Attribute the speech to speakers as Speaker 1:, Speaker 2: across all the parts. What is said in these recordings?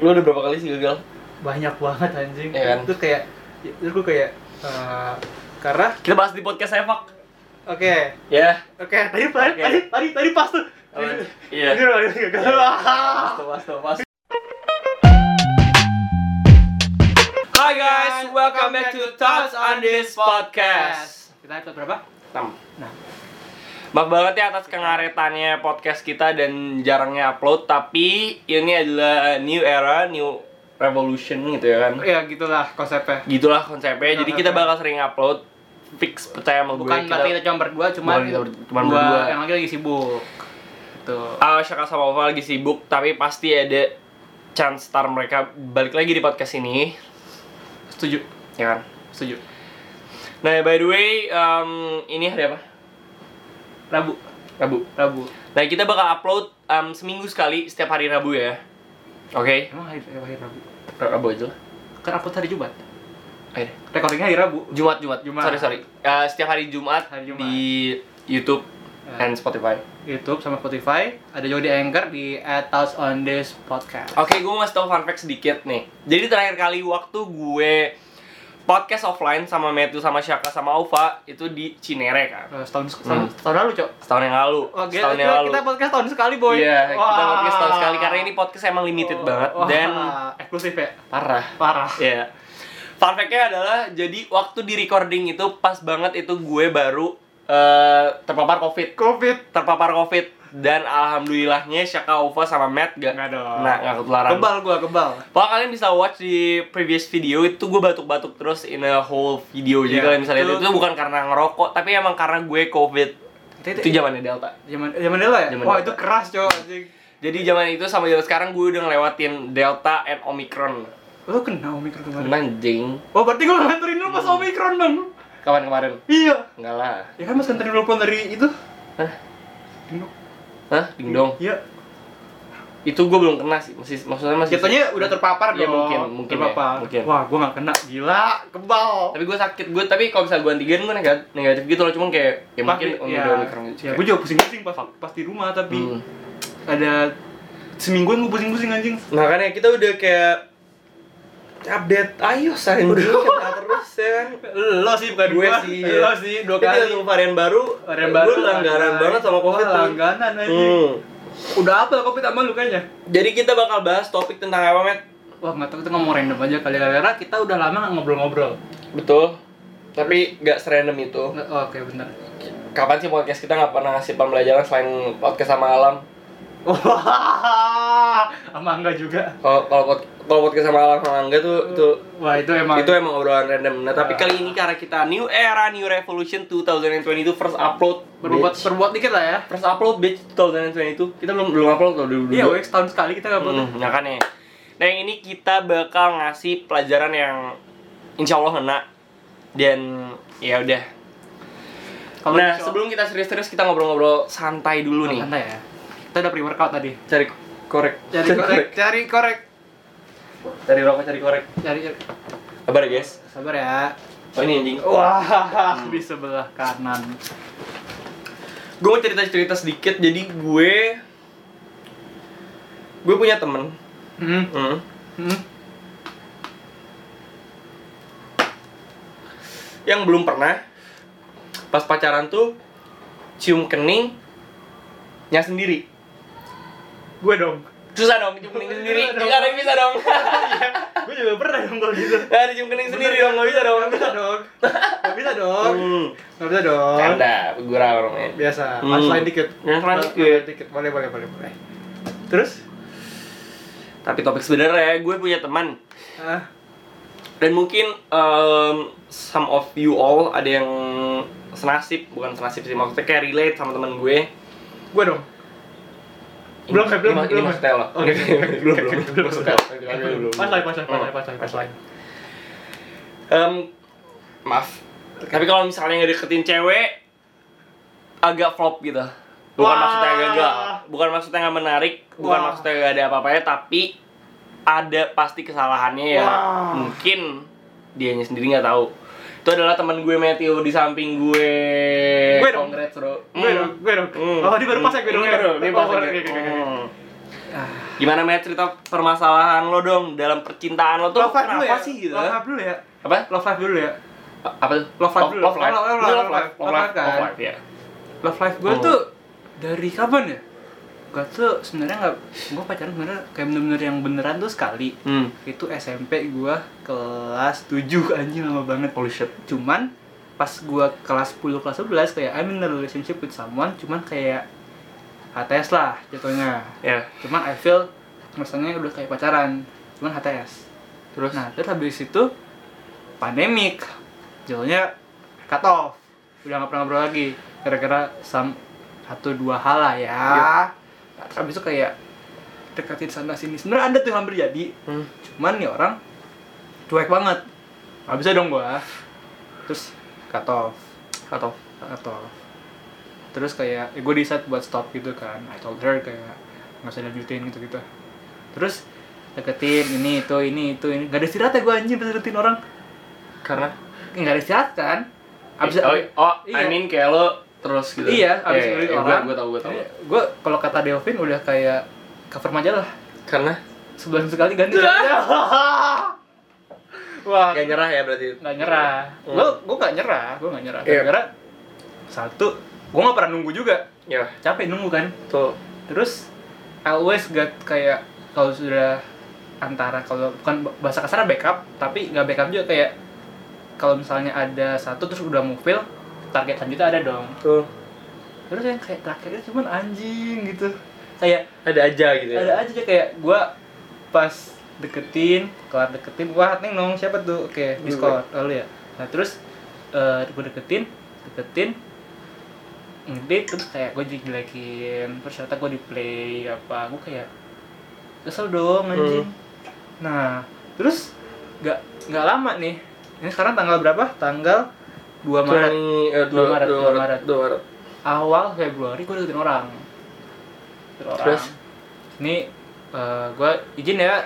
Speaker 1: Lu udah berapa kali sih gagal?
Speaker 2: banyak banget anjing
Speaker 1: Iya kan?
Speaker 2: terus kayak terus gue kayak eh, karena
Speaker 1: Kita bahas di podcast sepak.
Speaker 2: oke
Speaker 1: Ya.
Speaker 2: oke tadi tadi
Speaker 1: Oke.
Speaker 2: tadi tadi tadi pas tuh
Speaker 1: Apa?
Speaker 2: Tadi-
Speaker 1: Iya.
Speaker 2: tadi udah gagal. Wah.
Speaker 1: Pas tuh, pas tuh, pas. Hi guys, welcome back to Thoughts on this podcast.
Speaker 2: kita episode berapa nah
Speaker 1: Maaf banget ya atas kengaretannya podcast kita dan jarangnya upload, tapi ini adalah new era, new revolution gitu ya kan.
Speaker 2: ya gitulah konsepnya
Speaker 1: Gitulah Iya, konsepnya. Jadi kita bakal sering upload fix percaya sama gue.
Speaker 2: bukan berarti kita cuma berdua cuman
Speaker 1: Bukan kita ber- cuman
Speaker 2: dua
Speaker 1: berdua.
Speaker 2: yang lagi lagi sibuk tuh
Speaker 1: Ah, Syaka sama Ova lagi sibuk, tapi pasti ada chance star mereka balik lagi di podcast ini,
Speaker 2: setuju
Speaker 1: ya kan?
Speaker 2: setuju
Speaker 1: Nah, by the way, em, ini hari apa?
Speaker 2: rabu
Speaker 1: Rabu.
Speaker 2: rabu
Speaker 1: Nah, kita bakal upload em, seminggu sekali setiap hari Rabu ya. Oke,
Speaker 2: emang hari, eh, hari rabu
Speaker 1: Rabu aja lah.
Speaker 2: kan upload hari jumat
Speaker 1: Ayo.
Speaker 2: recordingnya hari rabu
Speaker 1: Jumat, Jumat.
Speaker 2: Jumat.
Speaker 1: Sorry, sorry. Eh, setiap hari Jumat,
Speaker 2: Hari Jumat.
Speaker 1: di YouTube
Speaker 2: Ya.
Speaker 1: and Spotify.
Speaker 2: YouTube sama Spotify, ada juga di Anchor di Atas on this podcast.
Speaker 1: Oke, gue mau ngasih tau fun fact sedikit nih. Jadi terakhir kali waktu gue podcast offline sama Matthew sama Syaka sama Ova itu di Cinere kan.
Speaker 2: Eh, Setahun setahun,
Speaker 1: Hmm.
Speaker 2: tahun lalu, Cok.
Speaker 1: Setahun yang lalu.
Speaker 2: Wah, Oh, gila,
Speaker 1: setahun yang
Speaker 2: kita,
Speaker 1: lalu.
Speaker 2: kita podcast tahun sekali, Boy.
Speaker 1: Iya, kita
Speaker 2: Wah.
Speaker 1: podcast setahun sekali karena ini podcast emang limited
Speaker 2: Wah,
Speaker 1: banget
Speaker 2: wah,
Speaker 1: dan
Speaker 2: eksklusif ya.
Speaker 1: parah.
Speaker 2: Parah.
Speaker 1: Iya. Fun fact-nya adalah jadi waktu di recording itu pas banget itu gue baru eh, terpapar Covid.
Speaker 2: Covid.
Speaker 1: Terpapar Covid dan alhamdulillahnya Syaka Ova sama Matt gak
Speaker 2: Nggak dong.
Speaker 1: Nah, nggak ketularan.
Speaker 2: Kebal gua, kebal.
Speaker 1: Pokoknya kalian bisa watch di previous video itu gue batuk-batuk terus in a whole video jadi
Speaker 2: Iya.
Speaker 1: kalian bisa lihat
Speaker 2: Itu-
Speaker 1: itu, itu bukan karena ngerokok tapi emang karena gue covid
Speaker 2: Itu-
Speaker 1: itu iya. zamannya delta
Speaker 2: Zaman zaman dulu ya?
Speaker 1: Zaman
Speaker 2: Wah,
Speaker 1: dulu.
Speaker 2: itu keras, Cok. anjing.
Speaker 1: jadi zaman itu sama zaman sekarang gue udah ngelewatin delta and omicron
Speaker 2: Lu kena Omikron kemarin.
Speaker 1: anjing
Speaker 2: Wah, berarti gua nganterin lu
Speaker 1: Hmm.
Speaker 2: pas Omikron, Bang.
Speaker 1: kapan kemarin
Speaker 2: Iya.
Speaker 1: enggak lah
Speaker 2: Ya kan Mas nganterin lu pun dari itu.
Speaker 1: Hah?
Speaker 2: Dino.
Speaker 1: Hah? dingdong
Speaker 2: Iya.
Speaker 1: itu gue belum kena sih masih maksudnya masih
Speaker 2: Jatuhnya udah terpapar
Speaker 1: Iya,
Speaker 2: dong.
Speaker 1: mungkin, mungkin ya,
Speaker 2: terpapar.
Speaker 1: mungkin.
Speaker 2: Wah, gua gak kena. Gila, kebal.
Speaker 1: tapi gue sakit gue tapi kalau bisa gue antigen gue negatif, negatif gitu loh cuman kayak ya mungkin
Speaker 2: Pasti,
Speaker 1: udah omicron gitu
Speaker 2: Ya, gue juga pusing-pusing pas, pas di rumah tapi
Speaker 1: Hmm.
Speaker 2: ada semingguan gue pusing-pusing anjing.
Speaker 1: makanya kita udah kayak update ayo sayang udah kena terus ya kan
Speaker 2: Lo sih bukan
Speaker 1: gue
Speaker 2: gua.
Speaker 1: sih
Speaker 2: Lo sih dua
Speaker 1: Tapi
Speaker 2: kali.
Speaker 1: untuk varian baru
Speaker 2: Varian baru
Speaker 1: lu langgaran
Speaker 2: anjing.
Speaker 1: banget sama covid
Speaker 2: Wah,
Speaker 1: tuh.
Speaker 2: langganan anjing.
Speaker 1: hmm.
Speaker 2: Udah apa covid sama lu kayaknya?
Speaker 1: jadi kita bakal bahas topik tentang apa met
Speaker 2: ya? Wah, nggak tahu kita ngomong random aja kali ya. karena kita udah lama nggak ngobrol-ngobrol.
Speaker 1: betul tapi gak serandom itu
Speaker 2: Nggak- oh, Oke, benar.
Speaker 1: kapan sih podcast kita nggak pernah ngasih pembelajaran selain podcast sama alam
Speaker 2: Wah, sama enggak juga.
Speaker 1: kalau kalau pod- kalau podcast sama alam sama Angga tuh itu
Speaker 2: Wah, itu emang
Speaker 1: itu emang obrolan random. Nah, tapi
Speaker 2: Ah.
Speaker 1: kali ini karena kita new era, new revolution 2022 first upload.
Speaker 2: berbuat
Speaker 1: bitch.
Speaker 2: berbuat dikit lah ya.
Speaker 1: first upload bitch 2022. Kita belum belum upload loh dulu.
Speaker 2: Iya, wes tahun sekali kita nggak
Speaker 1: Hmm, makanya. Nah yang ini kita bakal ngasih pelajaran yang insya Allah ngena dan ya udah.
Speaker 2: Kalau
Speaker 1: nah
Speaker 2: insya Allah-
Speaker 1: sebelum kita serius-serius kita ngobrol-ngobrol santai dulu nih.
Speaker 2: Santai ya. Kita udah pre-workout tadi.
Speaker 1: Cari korek.
Speaker 2: Cari korek, cari korek.
Speaker 1: Cari rokok, cari korek.
Speaker 2: Cari
Speaker 1: Kabar ya guys.
Speaker 2: sabar ya.
Speaker 1: Oh ini anjing.
Speaker 2: Wah, di sebelah kanan.
Speaker 1: Gue mau cerita-cerita sedikit. Jadi gue gue punya temen.
Speaker 2: Hmm.
Speaker 1: Hmm.
Speaker 2: Hmm.
Speaker 1: yang belum pernah pas pacaran tuh cium keningnya sendiri
Speaker 2: Gue dong.
Speaker 1: susah dong cium kening sendiri
Speaker 2: Dong.
Speaker 1: nggak ada yang bisa dong
Speaker 2: Gue juga pernah dong kalau gitu.
Speaker 1: nggak ada cium Eh, kening sendiri dong nggak bisa dong
Speaker 2: Gak bisa dong. Gak bisa dong.
Speaker 1: hmm.
Speaker 2: Gak bisa dong.
Speaker 1: canda gurau orangnya
Speaker 2: Biasa.
Speaker 1: Hmm.
Speaker 2: Mas lain dikit.
Speaker 1: Yang lain
Speaker 2: Mas
Speaker 1: dikit.
Speaker 2: dikit. Boleh, boleh, boleh, boleh. Terus?
Speaker 1: tapi topik sebenarnya gue punya teman
Speaker 2: Ah,
Speaker 1: dan mungkin em, some of you all ada yang senasib bukan senasib sih maksudnya kayak relate sama teman gue
Speaker 2: gue dong. Belum,
Speaker 1: Ini-
Speaker 2: belum,
Speaker 1: ini
Speaker 2: belum. Oh, iya,
Speaker 1: maksudnya lo
Speaker 2: Oke.
Speaker 1: belum belum
Speaker 2: Belum.
Speaker 1: maksudnya lo.
Speaker 2: Pas lain, pas lain, pas lain, pas lain, pas lain.
Speaker 1: Em, maaf. Tapi kalau misalnya ngedeketin cewek agak flop gitu. Bukan
Speaker 2: Wah.
Speaker 1: maksudnya gagal, bukan maksudnya nggak menarik, bukan
Speaker 2: Wah.
Speaker 1: maksudnya nggak ada apa-apanya, tapi ada pasti kesalahannya ya.
Speaker 2: Wah.
Speaker 1: Mungkin dianya sendiri nggak tahu. Itu adalah teman gue Matthew di samping gue.
Speaker 2: Gue
Speaker 1: Eh,
Speaker 2: dong.
Speaker 1: Congrats, bro.
Speaker 2: Gue dong, gue dong.
Speaker 1: Hmm.
Speaker 2: Oh, dia baru pas ya gue dong.
Speaker 1: Ini
Speaker 2: ya?
Speaker 1: baru, dia
Speaker 2: Oh,
Speaker 1: pas ya.
Speaker 2: oke, oke, oke.
Speaker 1: Hmm.
Speaker 2: Ah,
Speaker 1: Gimana Matt cerita permasalahan lo dong dalam percintaan lo tuh
Speaker 2: Love life dulu
Speaker 1: kenapa
Speaker 2: ya.
Speaker 1: sih gitu?
Speaker 2: Love life dulu ya.
Speaker 1: Apa?
Speaker 2: Love life dulu ya.
Speaker 1: A- Apa tuh?
Speaker 2: Love life dulu.
Speaker 1: Love life.
Speaker 2: Love life,
Speaker 1: Ini
Speaker 2: love life, love life kan?
Speaker 1: Love life, ya.
Speaker 2: Love life gue
Speaker 1: Oh.
Speaker 2: tuh dari kapan ya? Gak tuh sebenarnya nggak. Gue pacaran sebenarnya kayak bener-bener yang beneran tuh sekali.
Speaker 1: Hmm.
Speaker 2: Itu SMP gue kelas 7 anjing lama banget.
Speaker 1: Holy shit.
Speaker 2: Cuman pas gue kelas 10 kelas 11 kayak I'm in a relationship with someone cuman kayak HTS lah jatuhnya
Speaker 1: Ya.
Speaker 2: cuman I feel rasanya udah kayak pacaran cuman HTS
Speaker 1: Terus
Speaker 2: Nah, terus habis itu pandemik. Jadinya cut off. Udah nggak pernah ngobrol lagi. Kira-kira sam satu dua hal lah ya. Nah, terus habis itu kayak deketin sana sini. Sebenarnya ada tuh yang hampir jadi.
Speaker 1: Hmm.
Speaker 2: Cuman nih orang cuek banget. Nggak bisa dong gua. Terus cut off.
Speaker 1: atau
Speaker 2: Cut off. Terus kayak eh, gue decide buat stop gitu kan. I told her kayak nggak usah lanjutin gitu-gitu terus deketin ini itu ini itu ini gak ada istirahat ya gue anjing pas deketin orang
Speaker 1: karena
Speaker 2: nggak ada istirahat kan abis
Speaker 1: oh, oh I
Speaker 2: iya.
Speaker 1: mean kayak lo terus gitu.
Speaker 2: iya abis
Speaker 1: Ya, ya,
Speaker 2: deketin
Speaker 1: Gue,
Speaker 2: orang Iya.
Speaker 1: gue tau, gue tau.
Speaker 2: gue kalau kata Delvin udah kayak cover majalah lah
Speaker 1: Karena
Speaker 2: sebulan sekali ganti wah
Speaker 1: gak nyerah ya berarti.
Speaker 2: nggak Ah. nyerah
Speaker 1: Hmm.
Speaker 2: gue gue nggak nyerah gue nggak nyerah
Speaker 1: Iya.
Speaker 2: gara satu gue nggak pernah nunggu juga
Speaker 1: Ya.
Speaker 2: capek nunggu kan
Speaker 1: Tuh.
Speaker 2: terus I always got kayak kalau sudah antara kalau bukan bahasa kasar backup tapi nggak backup juga kayak kalau misalnya ada satu terus udah mufil target selanjutnya ada dong
Speaker 1: Tuh.
Speaker 2: terus yang kayak terakhirnya cuman anjing gitu kayak
Speaker 1: Ada aja gitu.
Speaker 2: ada aja dia kayak gua pas deketin kelar deketin wah neng nong siapa tuh oke discord lalu ya nah terus eh gua deketin deketin ngedit terus kayak gua dijelekin terus ternyata gua di play apa gua kayak kesel dong anjing nah terus nggak nggak lama nih ini sekarang tanggal berapa tanggal 2 Maret Dua Maret, dua Maret.
Speaker 1: Eh, dua Maret.
Speaker 2: awal Februari gue deketin orang deketin orang
Speaker 1: Terus?
Speaker 2: ini gue izin ya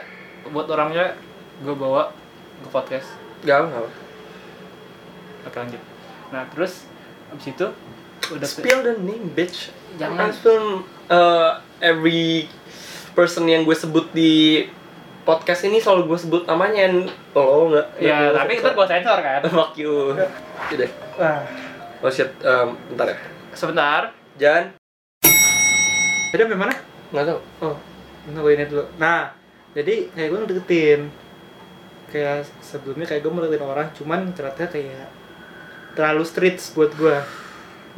Speaker 2: buat orangnya gue bawa ke podcast
Speaker 1: Gak apa, gak apa.
Speaker 2: oke lanjut nah terus abis itu udah
Speaker 1: Spill the name, bitch.
Speaker 2: Jangan.
Speaker 1: I spill uh, every person yang gue sebut di podcast ini selalu gue sebut namanya. and Lo nggak?
Speaker 2: ya
Speaker 1: nggak-
Speaker 2: tapi ntar gue sensor kan
Speaker 1: Fuck you. Udah.
Speaker 2: Wah,
Speaker 1: Oh shit, um, bentar ya.
Speaker 2: sebentar
Speaker 1: Jan,
Speaker 2: jadi sampai mana
Speaker 1: nggak tahu.
Speaker 2: oh bentar gue ini dulu nah jadi kayak gue deketin kayak sebelumnya kayak gue deketin orang cuman ternyata kayak terlalu streets buat gue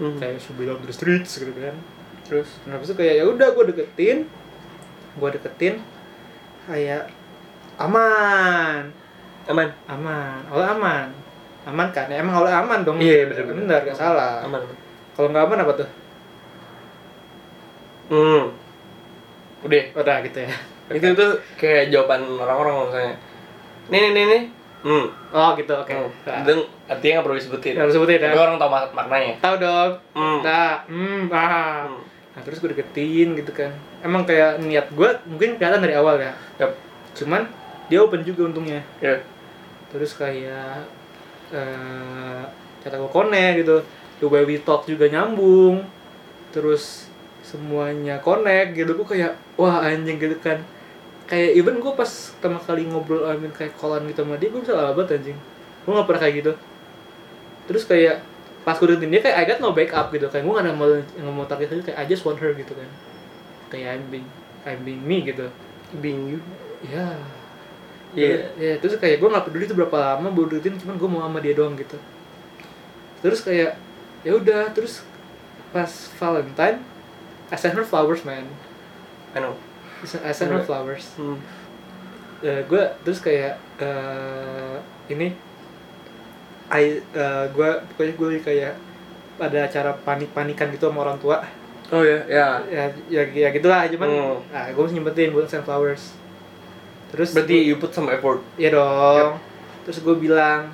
Speaker 1: Hmm.
Speaker 2: kayak should be love the streets gitu kan
Speaker 1: Terus,
Speaker 2: Nah, habis itu kayak ya udah gue deketin, gue deketin kayak aman,
Speaker 1: aman,
Speaker 2: aman, awalnya aman, aman kan? Ya, emang awalnya aman dong.
Speaker 1: Iya, bener-bener.
Speaker 2: Bener, gak salah.
Speaker 1: aman.
Speaker 2: Kalau nggak aman apa tuh?
Speaker 1: Hmm. Udah.
Speaker 2: Udah gitu ya.
Speaker 1: Itu itu kayak jawaban orang-orang kalau misalnya. Nih, nih, nih, nih. Hmm.
Speaker 2: Oh gitu, oke.
Speaker 1: Hmm.
Speaker 2: Nah,
Speaker 1: Itu artinya nggak perlu disebutin.
Speaker 2: harus sebutin
Speaker 1: Tapi
Speaker 2: ya.
Speaker 1: orang tahu mak- maknanya.
Speaker 2: Tahu dong.
Speaker 1: Hmm.
Speaker 2: Nah, hmm, ah.
Speaker 1: Hmm.
Speaker 2: Nah, terus gue deketin gitu kan. Emang kayak niat gue mungkin kelihatan dari awal ya.
Speaker 1: Yap.
Speaker 2: Cuman dia open juga untungnya.
Speaker 1: Ya.
Speaker 2: terus kayak eh kata gue connect gitu the way we talk juga nyambung terus semuanya connect gitu gue kayak wah anjing gitu kan kayak even gue pas pertama kali ngobrol I mean, kayak kolan gitu sama dia gue bisa lama banget anjing gue gak pernah kayak gitu terus kayak pas gue deketin dia kayak I got no backup gitu kayak gue gak ada mau nggak mau target lagi kayak I just want her gitu kan kayak I'm being I'm being me gitu
Speaker 1: Being you.
Speaker 2: ya
Speaker 1: Iya.
Speaker 2: Ya, terus kayak gue nggak peduli itu berapa lama baru deketin cuman gue mau sama dia doang gitu terus kayak ya udah terus pas Valentine I sent her flowers man
Speaker 1: I know.
Speaker 2: I sent her
Speaker 1: Alright.
Speaker 2: flowers
Speaker 1: Hmm.
Speaker 2: gue terus kayak eh, ini I gue pokoknya gue kayak pada acara panik-panikan gitu sama orang tua
Speaker 1: Oh ya, ya.
Speaker 2: ya ya, ya gitulah
Speaker 1: Hmm.
Speaker 2: cuman ah, gue nyempetin buat send flowers terus
Speaker 1: Berarti you put some effort.
Speaker 2: Iya dong. Terus gue bilang,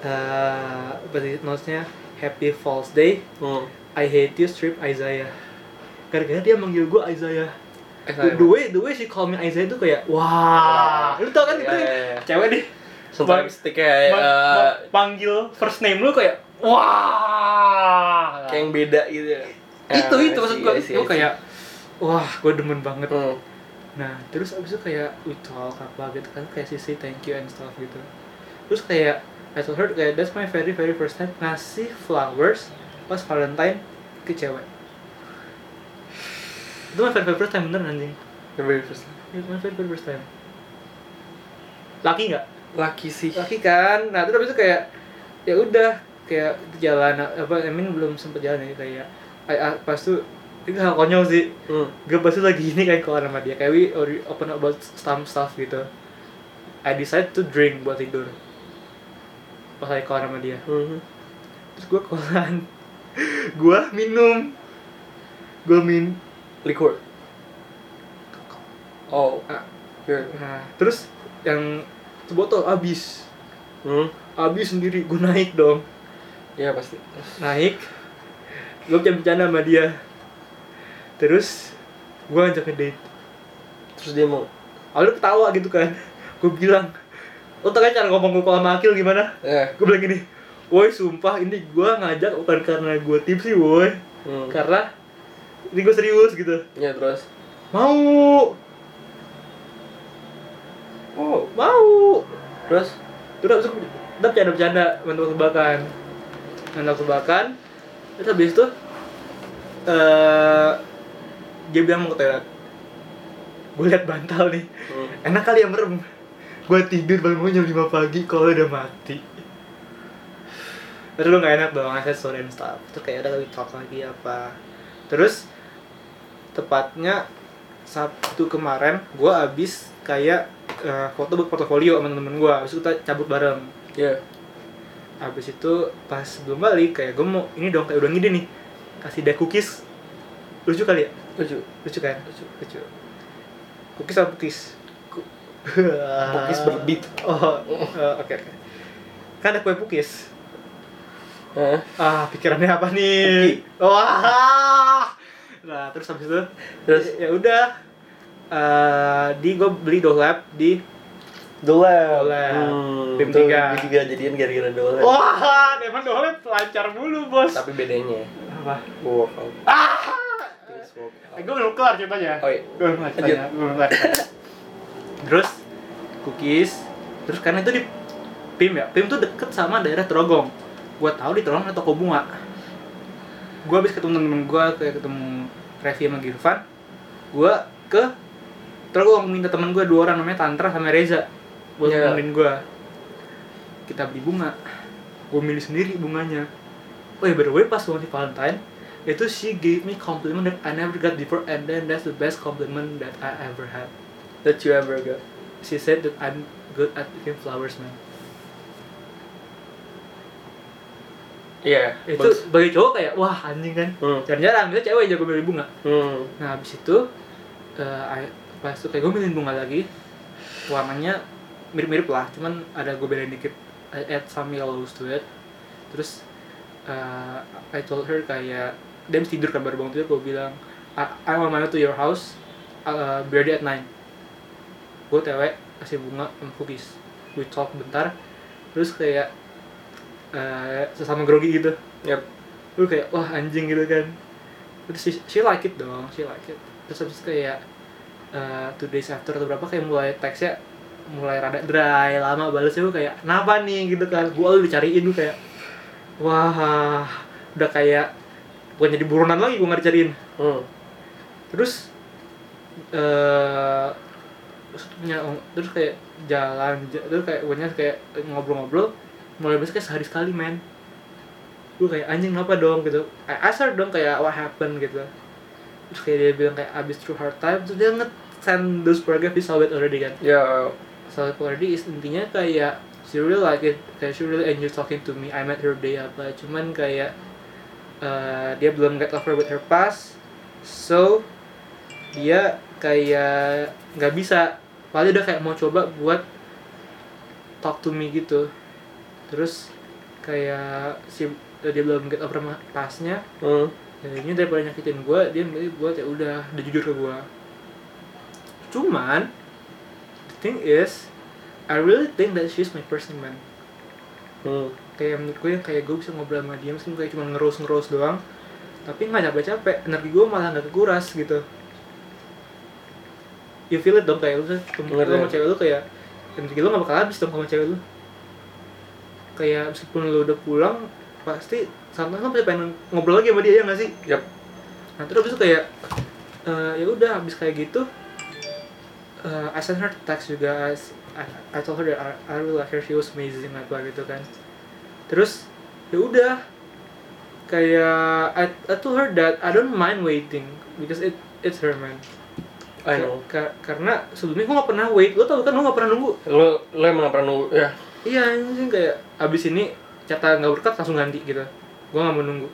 Speaker 2: eh berarti notesnya Happy False Day,
Speaker 1: Hmm.
Speaker 2: I hate you strip Isaiah. Gara-gara dia manggil gue Isaiah.
Speaker 1: Eh,
Speaker 2: The, the way the way she call me Isaiah itu kayak
Speaker 1: Wah.
Speaker 2: wah. Lu tau kan
Speaker 1: Iya,
Speaker 2: itu
Speaker 1: iya, iya.
Speaker 2: cewek deh.
Speaker 1: Sometimes they kayak
Speaker 2: ma-
Speaker 1: eh,
Speaker 2: ma- panggil first name lu kayak wah.
Speaker 1: kayak yang beda gitu. ya.
Speaker 2: itu
Speaker 1: Ah, I
Speaker 2: itu maksud
Speaker 1: see,
Speaker 2: gue.
Speaker 1: I see, I
Speaker 2: Gue
Speaker 1: see.
Speaker 2: kayak wah, gue demen banget.
Speaker 1: Hmm.
Speaker 2: Nah, terus abis itu kayak we talk apa gitu kan kayak sisi thank you and stuff gitu. Terus kayak I told her kayak that's my very very first time ngasih flowers pas Valentine ke cewek. Itu my very very first time bener anjing.
Speaker 1: Very first.
Speaker 2: Itu my very very first time. Laki nggak?
Speaker 1: Laki sih.
Speaker 2: Laki kan. Nah, terus abis itu kayak ya udah kayak jalan apa I mean belum sempet jalan ya kayak I, I- pas tuh itu hal konyol sih
Speaker 1: Hmm.
Speaker 2: gue pasti lagi ini kan keluar sama dia kayak we already open up about some stuff gitu I decide to drink buat tidur pas lagi keluar sama dia
Speaker 1: Mhm.
Speaker 2: terus gue kolan gue minum gue min
Speaker 1: Liquor. Oh. Beer.
Speaker 2: nah terus yang sebotol abis
Speaker 1: Hmm.
Speaker 2: abis sendiri gue naik dong
Speaker 1: Iya pasti.
Speaker 2: naik gue bercanda sama dia terus gue ajak ke date
Speaker 1: Terus dia mau.
Speaker 2: awalnya ketawa gitu kan gue bilang lo tau kan cara ngomong gue kalau sama Akil gimana
Speaker 1: Eh.
Speaker 2: gue bilang gini woi sumpah ini gue ngajak bukan karena gue tipsi woi
Speaker 1: Hmm.
Speaker 2: karena ini gue serius gitu
Speaker 1: Ya terus.
Speaker 2: mau
Speaker 1: Oh.
Speaker 2: mau
Speaker 1: Terus.
Speaker 2: terus abis itu udah bercanda bercanda bentuk tebakan bentuk tebakan terus habis itu eh dia bilang mau ke toilet gue liat bantal nih
Speaker 1: Hmm.
Speaker 2: enak kali ya merem gue tidur bangun jam 5 pagi kalau udah mati terus lu gak enak dong aset sore and stuff terus kayak udah we talk lagi apa terus tepatnya Sabtu kemarin gue abis kayak eh, foto buat portofolio sama temen gue abis itu kita cabut bareng
Speaker 1: Iya.
Speaker 2: abis itu pas belum balik kayak gue mau ini dong kayak udah ngide nih kasih dia cookies lucu kali ya
Speaker 1: Lucu.
Speaker 2: lucu kan
Speaker 1: Lucu.
Speaker 2: lucu cookies apa cookies
Speaker 1: Ku- Pukis
Speaker 2: cookies
Speaker 1: berbeat.
Speaker 2: Oh, eh, oke oke. Kan ada kue pukis.
Speaker 1: Heeh.
Speaker 2: Ah, pikirannya apa nih? Wah. Nah, terus habis itu
Speaker 1: Terus?
Speaker 2: ya udah eh di gue beli dohlap di
Speaker 1: Dolem.
Speaker 2: Dolem. Tim
Speaker 1: betul.
Speaker 2: tiga.
Speaker 1: Gue juga jadian gara-gara dolem.
Speaker 2: Wah, emang dohlap lancar mulu, Bos.
Speaker 1: Tapi bedanya.
Speaker 2: Apa?
Speaker 1: Gue workout.
Speaker 2: Ah!
Speaker 1: Gue workout.
Speaker 2: Gue Eh, belum kelar ceritanya.
Speaker 1: Oh iya.
Speaker 2: Gue belum kelar ceritanya.
Speaker 1: Lanjut.
Speaker 2: Gue belum kelar. terus cookies. Terus karena itu di Pim ya. Pim tuh deket sama daerah Trogong. Gue tahu di Trogong ada toko bunga. Gue habis ketemu temen gue kayak ketemu Revi sama Girvan. Gue ke Trogong minta temen gue dua orang namanya Tantra sama Reza buat
Speaker 1: Iya.
Speaker 2: nemenin gue. Kita beli bunga. Gue milih sendiri bunganya. Oh ya by the way pas waktu Valentine itu she gave me compliment that I never got before and then that's the best compliment that I ever had.
Speaker 1: That you ever got.
Speaker 2: She said that I'm good at picking flowers man.
Speaker 1: Iya.
Speaker 2: itu
Speaker 1: bagus.
Speaker 2: bagi cowok kayak wah anjing kan
Speaker 1: Hmm.
Speaker 2: jarang-jarang bisa cewek jago milih bunga
Speaker 1: Hmm.
Speaker 2: nah habis itu eh, I- pas itu kayak gue milih bunga lagi warnanya mirip-mirip lah cuman ada gue bedain dikit I add some yellows to it terus eh, I told her kayak dia mesti tidur kan baru bangun tidur gue bilang I, I want my to your house uh, birthday at nine gue tewe kasih bunga sama cookies we talk bentar terus kayak eh, sesama grogi gitu
Speaker 1: Yap.
Speaker 2: lu kayak wah anjing gitu kan terus she, she like it dong she like it terus habis itu kayak eh, two days after atau berapa kayak mulai teksnya mulai rada dry lama balesnya gue kayak kenapa nih gitu kan gue udah dicariin gue kayak wah udah kayak bukan jadi buronan lagi gue nggak dicariin
Speaker 1: Hmm.
Speaker 2: terus eh maksudnya, terus kayak jalan ja- terus kayak banyak kayak ngobrol-ngobrol mulai besok kayak sehari sekali men gue kayak anjing kenapa dong gitu I asked her dong kayak what happened gitu terus kayak dia bilang kayak abis through hard time terus dia nge send those paragraph he saw it already kan
Speaker 1: Ya.
Speaker 2: saw it already is intinya kayak she really like it kayak she really enjoy talking to me I met her day apa cuman kayak eh, dia belum get over with her past so dia kayak nggak bisa paling udah kayak mau coba buat talk to me gitu terus kayak si dia belum get over ma- pastnya
Speaker 1: Hmm.
Speaker 2: jadinya daripada nyakitin gue dia milih buat ya udah dia jujur ke gue cuman the thing is I really think that she's my person man
Speaker 1: Hmm.
Speaker 2: kayak menurut gue yang kayak gue bisa ngobrol sama dia meskipun kayak cuma ngerus ngerus doang tapi nggak capek capek energi gue malah nggak kekuras gitu you feel it dong kayak lu kan temen
Speaker 1: Bener,
Speaker 2: lu sama
Speaker 1: ya.
Speaker 2: cewek lu kayak energi lu gak bakal habis dong sama cewek lu kayak meskipun lu udah pulang pasti sometimes lu pasti pengen ngobrol lagi sama dia ya gak sih
Speaker 1: Yap.
Speaker 2: nah terus abis itu kayak eh, ya udah habis kayak gitu eh, I sent her text juga as- I, I told her that I, I really like her she was amazing apa gitu kan terus ya udah kayak I, I told her that I don't mind waiting because it it's her man
Speaker 1: I know.
Speaker 2: Ka- karena sebelumnya gue gak pernah wait lo tau kan gue gak pernah nunggu
Speaker 1: Lo lo emang pernah nunggu ya?
Speaker 2: iya anjing kayak abis ini kata nggak berkat langsung ganti gitu gue nggak menunggu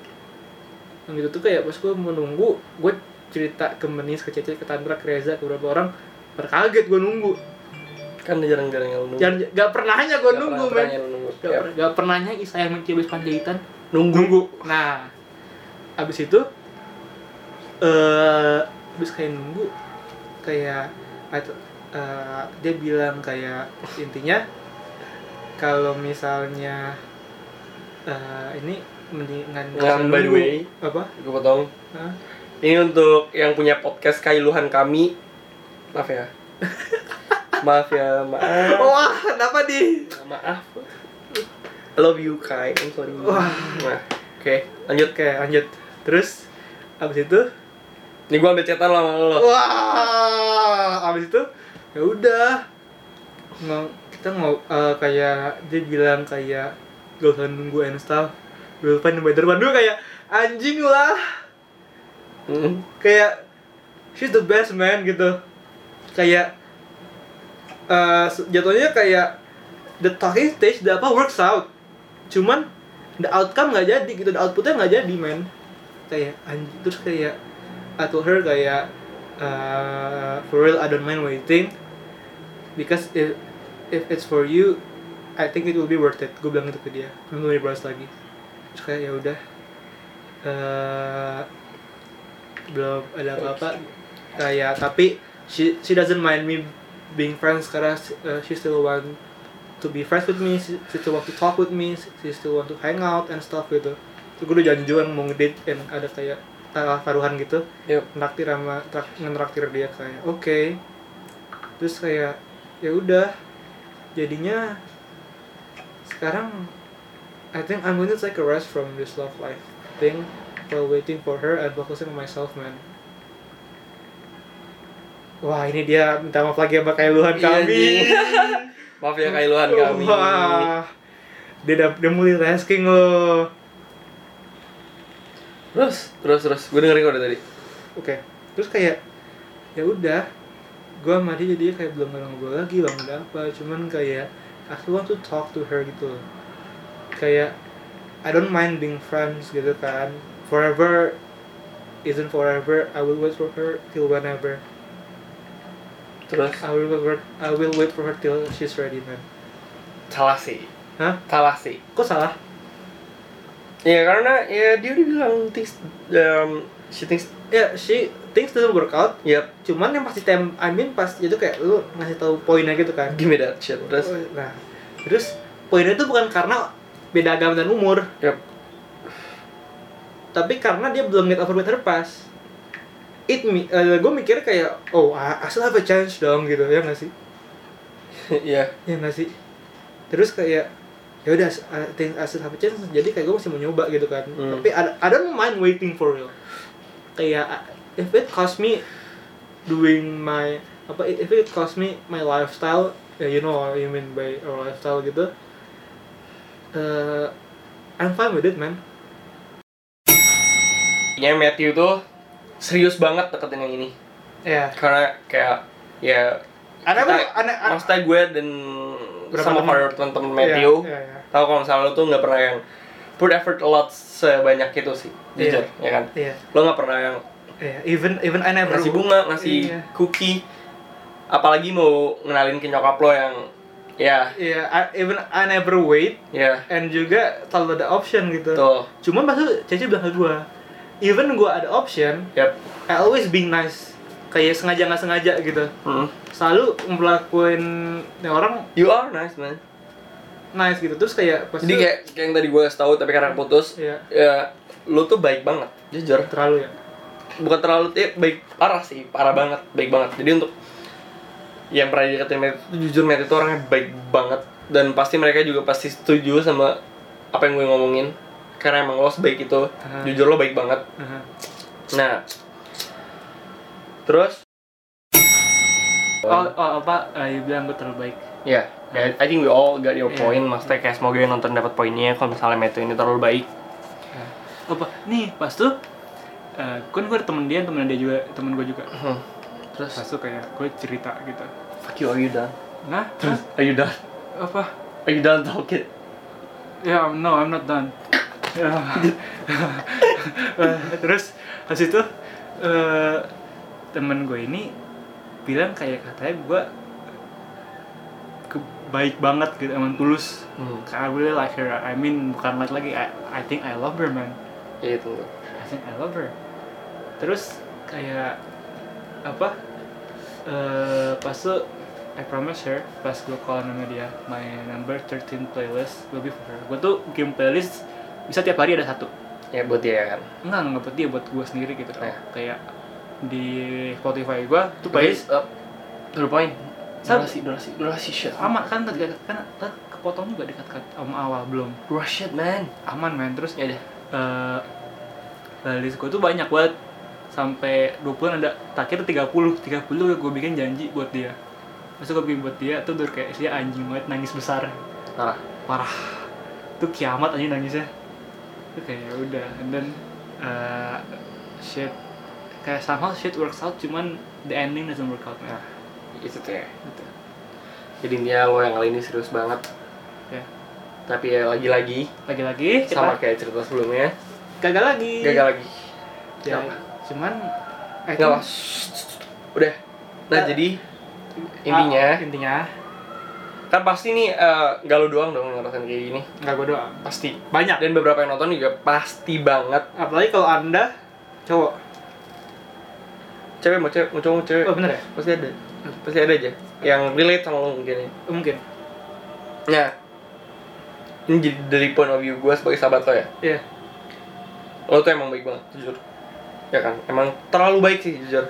Speaker 2: yang gitu tuh kayak pas gue menunggu gue cerita ke menis ke cece ke tantra ke reza ke beberapa orang pada kaget gue nunggu
Speaker 1: Kan jarang-jarang yang lo nunggu.
Speaker 2: jangan gak pernahnya gue
Speaker 1: Nggak pernah-
Speaker 2: nunggu men
Speaker 1: pernahnya lo nunggu.
Speaker 2: gak,
Speaker 1: Yap.
Speaker 2: per, gak pernahnya Isayang mencibis panjaitan
Speaker 1: Nunggu.
Speaker 2: Nah, abis itu, eh abis kayak nunggu, kayak atau eh, dia bilang kayak intinya kalau misalnya eh, ini mendingan
Speaker 1: Dan by the way,
Speaker 2: apa?
Speaker 1: gue potong.
Speaker 2: Hah?
Speaker 1: Ini untuk yang punya podcast kailuhan kami. Maaf ya. maaf ya, maaf.
Speaker 2: Wah, kenapa di?
Speaker 1: Maaf. I love you, Kai. I'm sorry.
Speaker 2: Wah.
Speaker 1: Nah, oke, lanjut.
Speaker 2: Oke, lanjut. Terus abis itu,
Speaker 1: Ini gua ambil cetan lo sama lo.
Speaker 2: wah, abis itu ya udah Ngo- kita mau kayak dia bilang kayak gak usah nunggu and stuff we'll find a better one Dulu kayak anjing lah Oh.
Speaker 1: Mm.
Speaker 2: kayak she's the best man gitu kayak eh, se- jatuhnya kayak the talking stage the apa works out cuman the outcome nggak jadi gitu the outputnya nggak jadi men kayak anjing terus kayak I told her kayak eh, for real I don't mind waiting because if if it's for you I think it will be worth it gue bilang itu ke dia belum dibahas lagi terus kayak ya udah eh, belum ada apa-apa kayak tapi she she doesn't mind me being friends karena uh, she still want to be friends with me she, she still want to talk with me she still want to hang out and stuff gitu terus gue udah janji juga mau ngedate yang ada kayak tar- taruhan gitu
Speaker 1: Yep.
Speaker 2: nraktir sama trak, ngeraktir dia kayak oke terus kayak ya udah jadinya sekarang I think I'm going to take a rest from this love life thing while waiting for her and focusing on myself man wah ini dia minta maaf lagi sama kailuhan
Speaker 1: Iya,
Speaker 2: kami
Speaker 1: anjing. Maaf ya, kailuhan kami.
Speaker 2: Oh, wah dia udah dia multitasking loh
Speaker 1: Terus, terus, terus. Gue dengerin kok dari tadi.
Speaker 2: oke terus kayak ya udah gue sama dia jadi kayak belum ngobrol lagi belum ada apa cuman kayak I still want to talk to her gitu loh. kayak I don't mind being friends gitu kan forever isn't forever I will wait for her till whenever
Speaker 1: Terus,
Speaker 2: I will wait for, I will wait for her till she's ready man
Speaker 1: salah sih.
Speaker 2: hah
Speaker 1: Salah sih.
Speaker 2: kok salah
Speaker 1: Ya karena ya dia udah bilang things um, she thinks
Speaker 2: ya she things doesn't work out
Speaker 1: yep
Speaker 2: cuman yang pasti time I mean pas itu kayak lu ngasih tahu poinnya gitu kan
Speaker 1: give me that shit terus
Speaker 2: Nah, terus poinnya itu bukan karena beda agama dan umur,
Speaker 1: yep
Speaker 2: tapi karena dia belum get over with her past. It me, gue mikir kayak, oh, I, I still have a chance dong gitu, ya nggak sih?
Speaker 1: ya
Speaker 2: Ya nggak sih? Terus kayak, ya udah, I think I still have a chance. Jadi kayak gue masih mau nyoba gitu kan.
Speaker 1: Hmm.
Speaker 2: Tapi I, I don't mind waiting for real. Kayak I- if it cost me doing my apa if it cost me my lifestyle, ya you know what I mean by a lifestyle gitu. eh I'm fine with it, man.
Speaker 1: ya Matthew tuh serius banget deketin yang ini
Speaker 2: Ya.
Speaker 1: karena kayak ya
Speaker 2: Ada apa?
Speaker 1: kita-
Speaker 2: Ada ada-
Speaker 1: maksudnya gue dan
Speaker 2: Berapa
Speaker 1: sama
Speaker 2: temen?
Speaker 1: para teman-teman Matthew
Speaker 2: Iya, iya,
Speaker 1: tahu kalau misalnya lo tuh nggak pernah yang put effort a lot sebanyak itu sih
Speaker 2: Iya.
Speaker 1: jujur ya kan
Speaker 2: iya.
Speaker 1: lo nggak pernah yang
Speaker 2: Iya, even even I never
Speaker 1: ngasih bunga ngasih
Speaker 2: Iya.
Speaker 1: cookie apalagi mau ngenalin ke nyokap lo yang ya
Speaker 2: Iya, I- even I never wait
Speaker 1: ya
Speaker 2: and juga selalu ada option gitu.
Speaker 1: tuh
Speaker 2: Cuman pas itu Cece bilang ke gue, even gue ada option,
Speaker 1: yep
Speaker 2: I always being nice. Kayak sengaja nggak sengaja gitu.
Speaker 1: Hmm.
Speaker 2: Selalu ngelakuin ya orang
Speaker 1: You are nice man.
Speaker 2: nice gitu. Terus kayak pas
Speaker 1: Jadi
Speaker 2: itu-
Speaker 1: kayak kayak yang tadi gue kasih tahu tapi karena putus,
Speaker 2: Iya.
Speaker 1: ya lu tuh baik banget, jujur. ya,
Speaker 2: terlalu ya.
Speaker 1: Bukan terlalu eh, baik parah sih, parah banget, baik banget. Jadi untuk yang pernah dideketin Matt itu jujur Matt itu orangnya baik banget dan pasti mereka juga pasti setuju sama apa yang gue ngomongin karena emang lo sebaik itu
Speaker 2: Ah.
Speaker 1: jujur lo baik banget
Speaker 2: Aha.
Speaker 1: nah terus
Speaker 2: Oh, oh, apa? Ah, dia bilang gue terlalu baik.
Speaker 1: ya yeah, I think we all got your
Speaker 2: Iya.
Speaker 1: point maksudnya kayak semoga yang nonton dapat poinnya kalau misalnya Matt ini terlalu baik
Speaker 2: Nah, apa? Nih, pas tuh eh kan gue ada temen dia, temen dia juga, temen gue juga.
Speaker 1: Hmm.
Speaker 2: Pas
Speaker 1: terus
Speaker 2: tuh kayak gue cerita gitu.
Speaker 1: fuck you are you done
Speaker 2: Nah, terus
Speaker 1: are you done
Speaker 2: apa?
Speaker 1: are you done talking
Speaker 2: Ya, I'm- no, I'm not done. Ya. Eh, terus pas itu eh, temen gue ini bilang kayak katanya gue ke- baik banget gitu, emang tulus.
Speaker 1: hmm.
Speaker 2: I really like her. I mean bukan like lagi. I, I think I love her man.
Speaker 1: ya itu
Speaker 2: I think I love her. Terus kayak apa? Eh pas tuh I promise her pas gue call nama dia my number 13 playlist will be for her. Gue tuh game playlist bisa tiap hari ada satu.
Speaker 1: ya buat dia ya kan
Speaker 2: Enggak enggak buat dia buat gue sendiri gitu. tau.
Speaker 1: Ya.
Speaker 2: Kayak di Spotify gue
Speaker 1: Guys,
Speaker 2: tuh playlist
Speaker 1: uh, berapa poin?
Speaker 2: Satu.
Speaker 1: Durasi, durasi, durasi shit.
Speaker 2: sama kan tadi kan tadi kepotong juga dekat-dekat sama awal belum
Speaker 1: Rush shit, man.
Speaker 2: aman men terus
Speaker 1: Ya deh.
Speaker 2: eh playlist gue tuh banyak banget sampai 20 ada terakhir 30 30 gue bikin janji buat dia terus gue bikin buat dia tuh udah kayak dia anjing banget nangis besar
Speaker 1: Parah.
Speaker 2: parah tuh kiamat anjing nangisnya itu kayak ya udah and then eh, shit kayak somehow shit works out cuman the ending doesn't work out man.
Speaker 1: Nah, itu tuh ya.
Speaker 2: gitu
Speaker 1: Jadi intinya lo yang kali ini serius banget.
Speaker 2: ya
Speaker 1: Tapi ya lagi-lagi
Speaker 2: lagi-lagi
Speaker 1: sama
Speaker 2: kita
Speaker 1: kayak cerita sebelumnya.
Speaker 2: gagal lagi
Speaker 1: Gagal lagi.
Speaker 2: ya,
Speaker 1: Kenapa?
Speaker 2: cuman I
Speaker 1: Enggak
Speaker 2: think-
Speaker 1: lah. Shh, shh, shh. Udah. Nah, jadi intinya
Speaker 2: Ah, intinya
Speaker 1: kan pasti nih eh, nggak lo doang dong ngerasain kayak gini.
Speaker 2: nggak gue doang
Speaker 1: Pasti.
Speaker 2: banyak
Speaker 1: Dan beberapa yang nonton juga pasti banget.
Speaker 2: apalagi kalau anda cowok
Speaker 1: Cewek mau cewek, mau cowok mau cewek.
Speaker 2: oh bener ya
Speaker 1: Pasti ada. Pasti ada aja yang relate sama lo mungkin ya.
Speaker 2: Oh, mungkin Ya.
Speaker 1: Nah, ini jadi dari point of view gue sebagai sahabat lo ya.
Speaker 2: iya
Speaker 1: Lo tuh emang baik banget, jujur. Ya kan, emang terlalu baik sih jujur.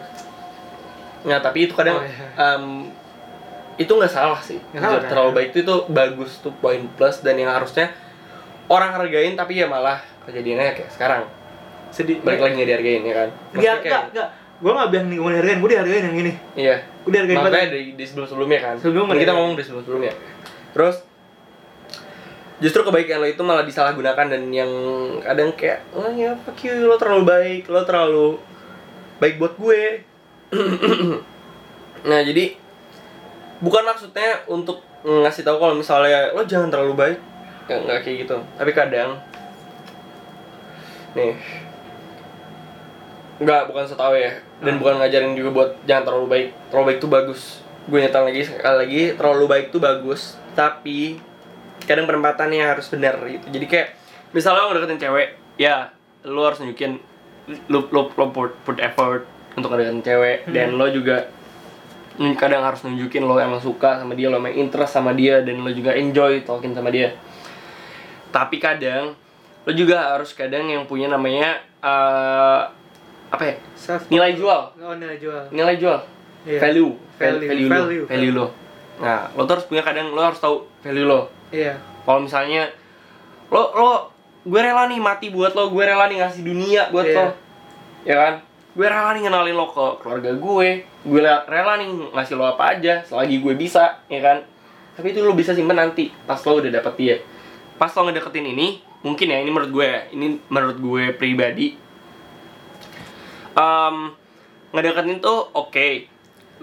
Speaker 1: Nah, tapi itu kadang
Speaker 2: Oh, iya.
Speaker 1: em, itu nggak salah sih.
Speaker 2: Nggak
Speaker 1: Jujur,
Speaker 2: salah, kan?
Speaker 1: terlalu baik itu, itu bagus tuh poin plus dan yang harusnya orang hargain tapi ya malah kejadiannya kayak sekarang.
Speaker 2: sedih
Speaker 1: Balik lagi nggak dihargain ya kan.
Speaker 2: dia
Speaker 1: Maksudnya
Speaker 2: enggak
Speaker 1: kayak-
Speaker 2: enggak gue Iya. nggak bilang nih gue dihargain gue dihargain yang ini
Speaker 1: Iya.
Speaker 2: gue dihargain banget
Speaker 1: Makanya dari, dari sebelum sebelumnya kan.
Speaker 2: Sebelum
Speaker 1: Kan
Speaker 2: ada-
Speaker 1: kita ngomong dari sebelum sebelumnya. Terus justru kebaikan lo itu malah disalahgunakan dan yang kadang kayak oh ya fuck you lo terlalu baik lo terlalu baik buat gue nah jadi bukan maksudnya untuk ngasih tahu kalau misalnya lo jangan terlalu baik nggak nggak kayak gitu tapi kadang nih nggak bukan setahu ya dan bukan ngajarin juga buat jangan terlalu baik terlalu baik tuh bagus gue nyetel lagi sekali lagi terlalu baik tuh bagus tapi kadang penempatannya yang harus benar gitu jadi kayak misalnya lo ngedeketin cewek ya lo harus nunjukin lo lo, lo put, put effort untuk ngedeketin cewek dan lo juga nun- kadang harus nunjukin lo emang suka sama dia lo emang interest sama dia dan lo juga enjoy talking sama dia tapi kadang lo juga harus kadang yang punya namanya eh, apa ya
Speaker 2: self
Speaker 1: nilai jual
Speaker 2: oh nilai jual
Speaker 1: nilai jual
Speaker 2: Iya.
Speaker 1: value Val-
Speaker 2: Value.
Speaker 1: value
Speaker 2: Value.
Speaker 1: lo value lo nah lo tuh harus punya kadang lo harus tahu value lo
Speaker 2: iya
Speaker 1: kalau misalnya lo lo gue rela nih mati buat lo gue rela nih ngasih dunia buat
Speaker 2: Iya.
Speaker 1: lo ya kan gue rela nih ngenalin lo ke keluarga gue gue le- rela nih ngasih lo apa aja selagi gue bisa ya kan tapi itu lo bisa simpen nanti pas lo udah dapet dia pas lo ngedeketin ini mungkin ya ini menurut gue ya, ini menurut gue pribadi Em, ngedeketin tuh oke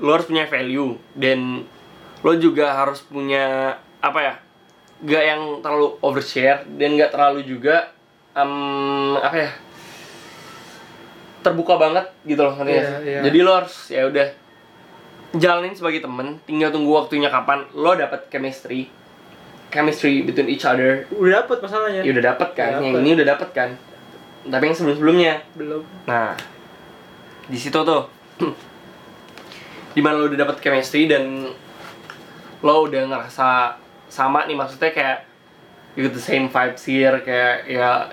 Speaker 1: lo harus punya value dan lo juga harus punya apa ya gak yang terlalu overshare dan gak terlalu juga em, apa ya terbuka banget gitu loh ngerti gak
Speaker 2: Iya,
Speaker 1: sih?
Speaker 2: iya.
Speaker 1: jadi lo harus ya udah jalanin sebagai temen tinggal tunggu waktunya kapan lo dapat chemistry chemistry between each other
Speaker 2: udah dapet masalahnya
Speaker 1: ya udah dapat kan
Speaker 2: Udah
Speaker 1: yang
Speaker 2: dapet.
Speaker 1: ini udah dapat kan tapi yang sebelum sebelumnya
Speaker 2: belum
Speaker 1: Nah, di situ tuh dimana lo udah dapet chemistry dan lo udah ngerasa sama nih maksudnya kayak you get the same vibes here kayak ya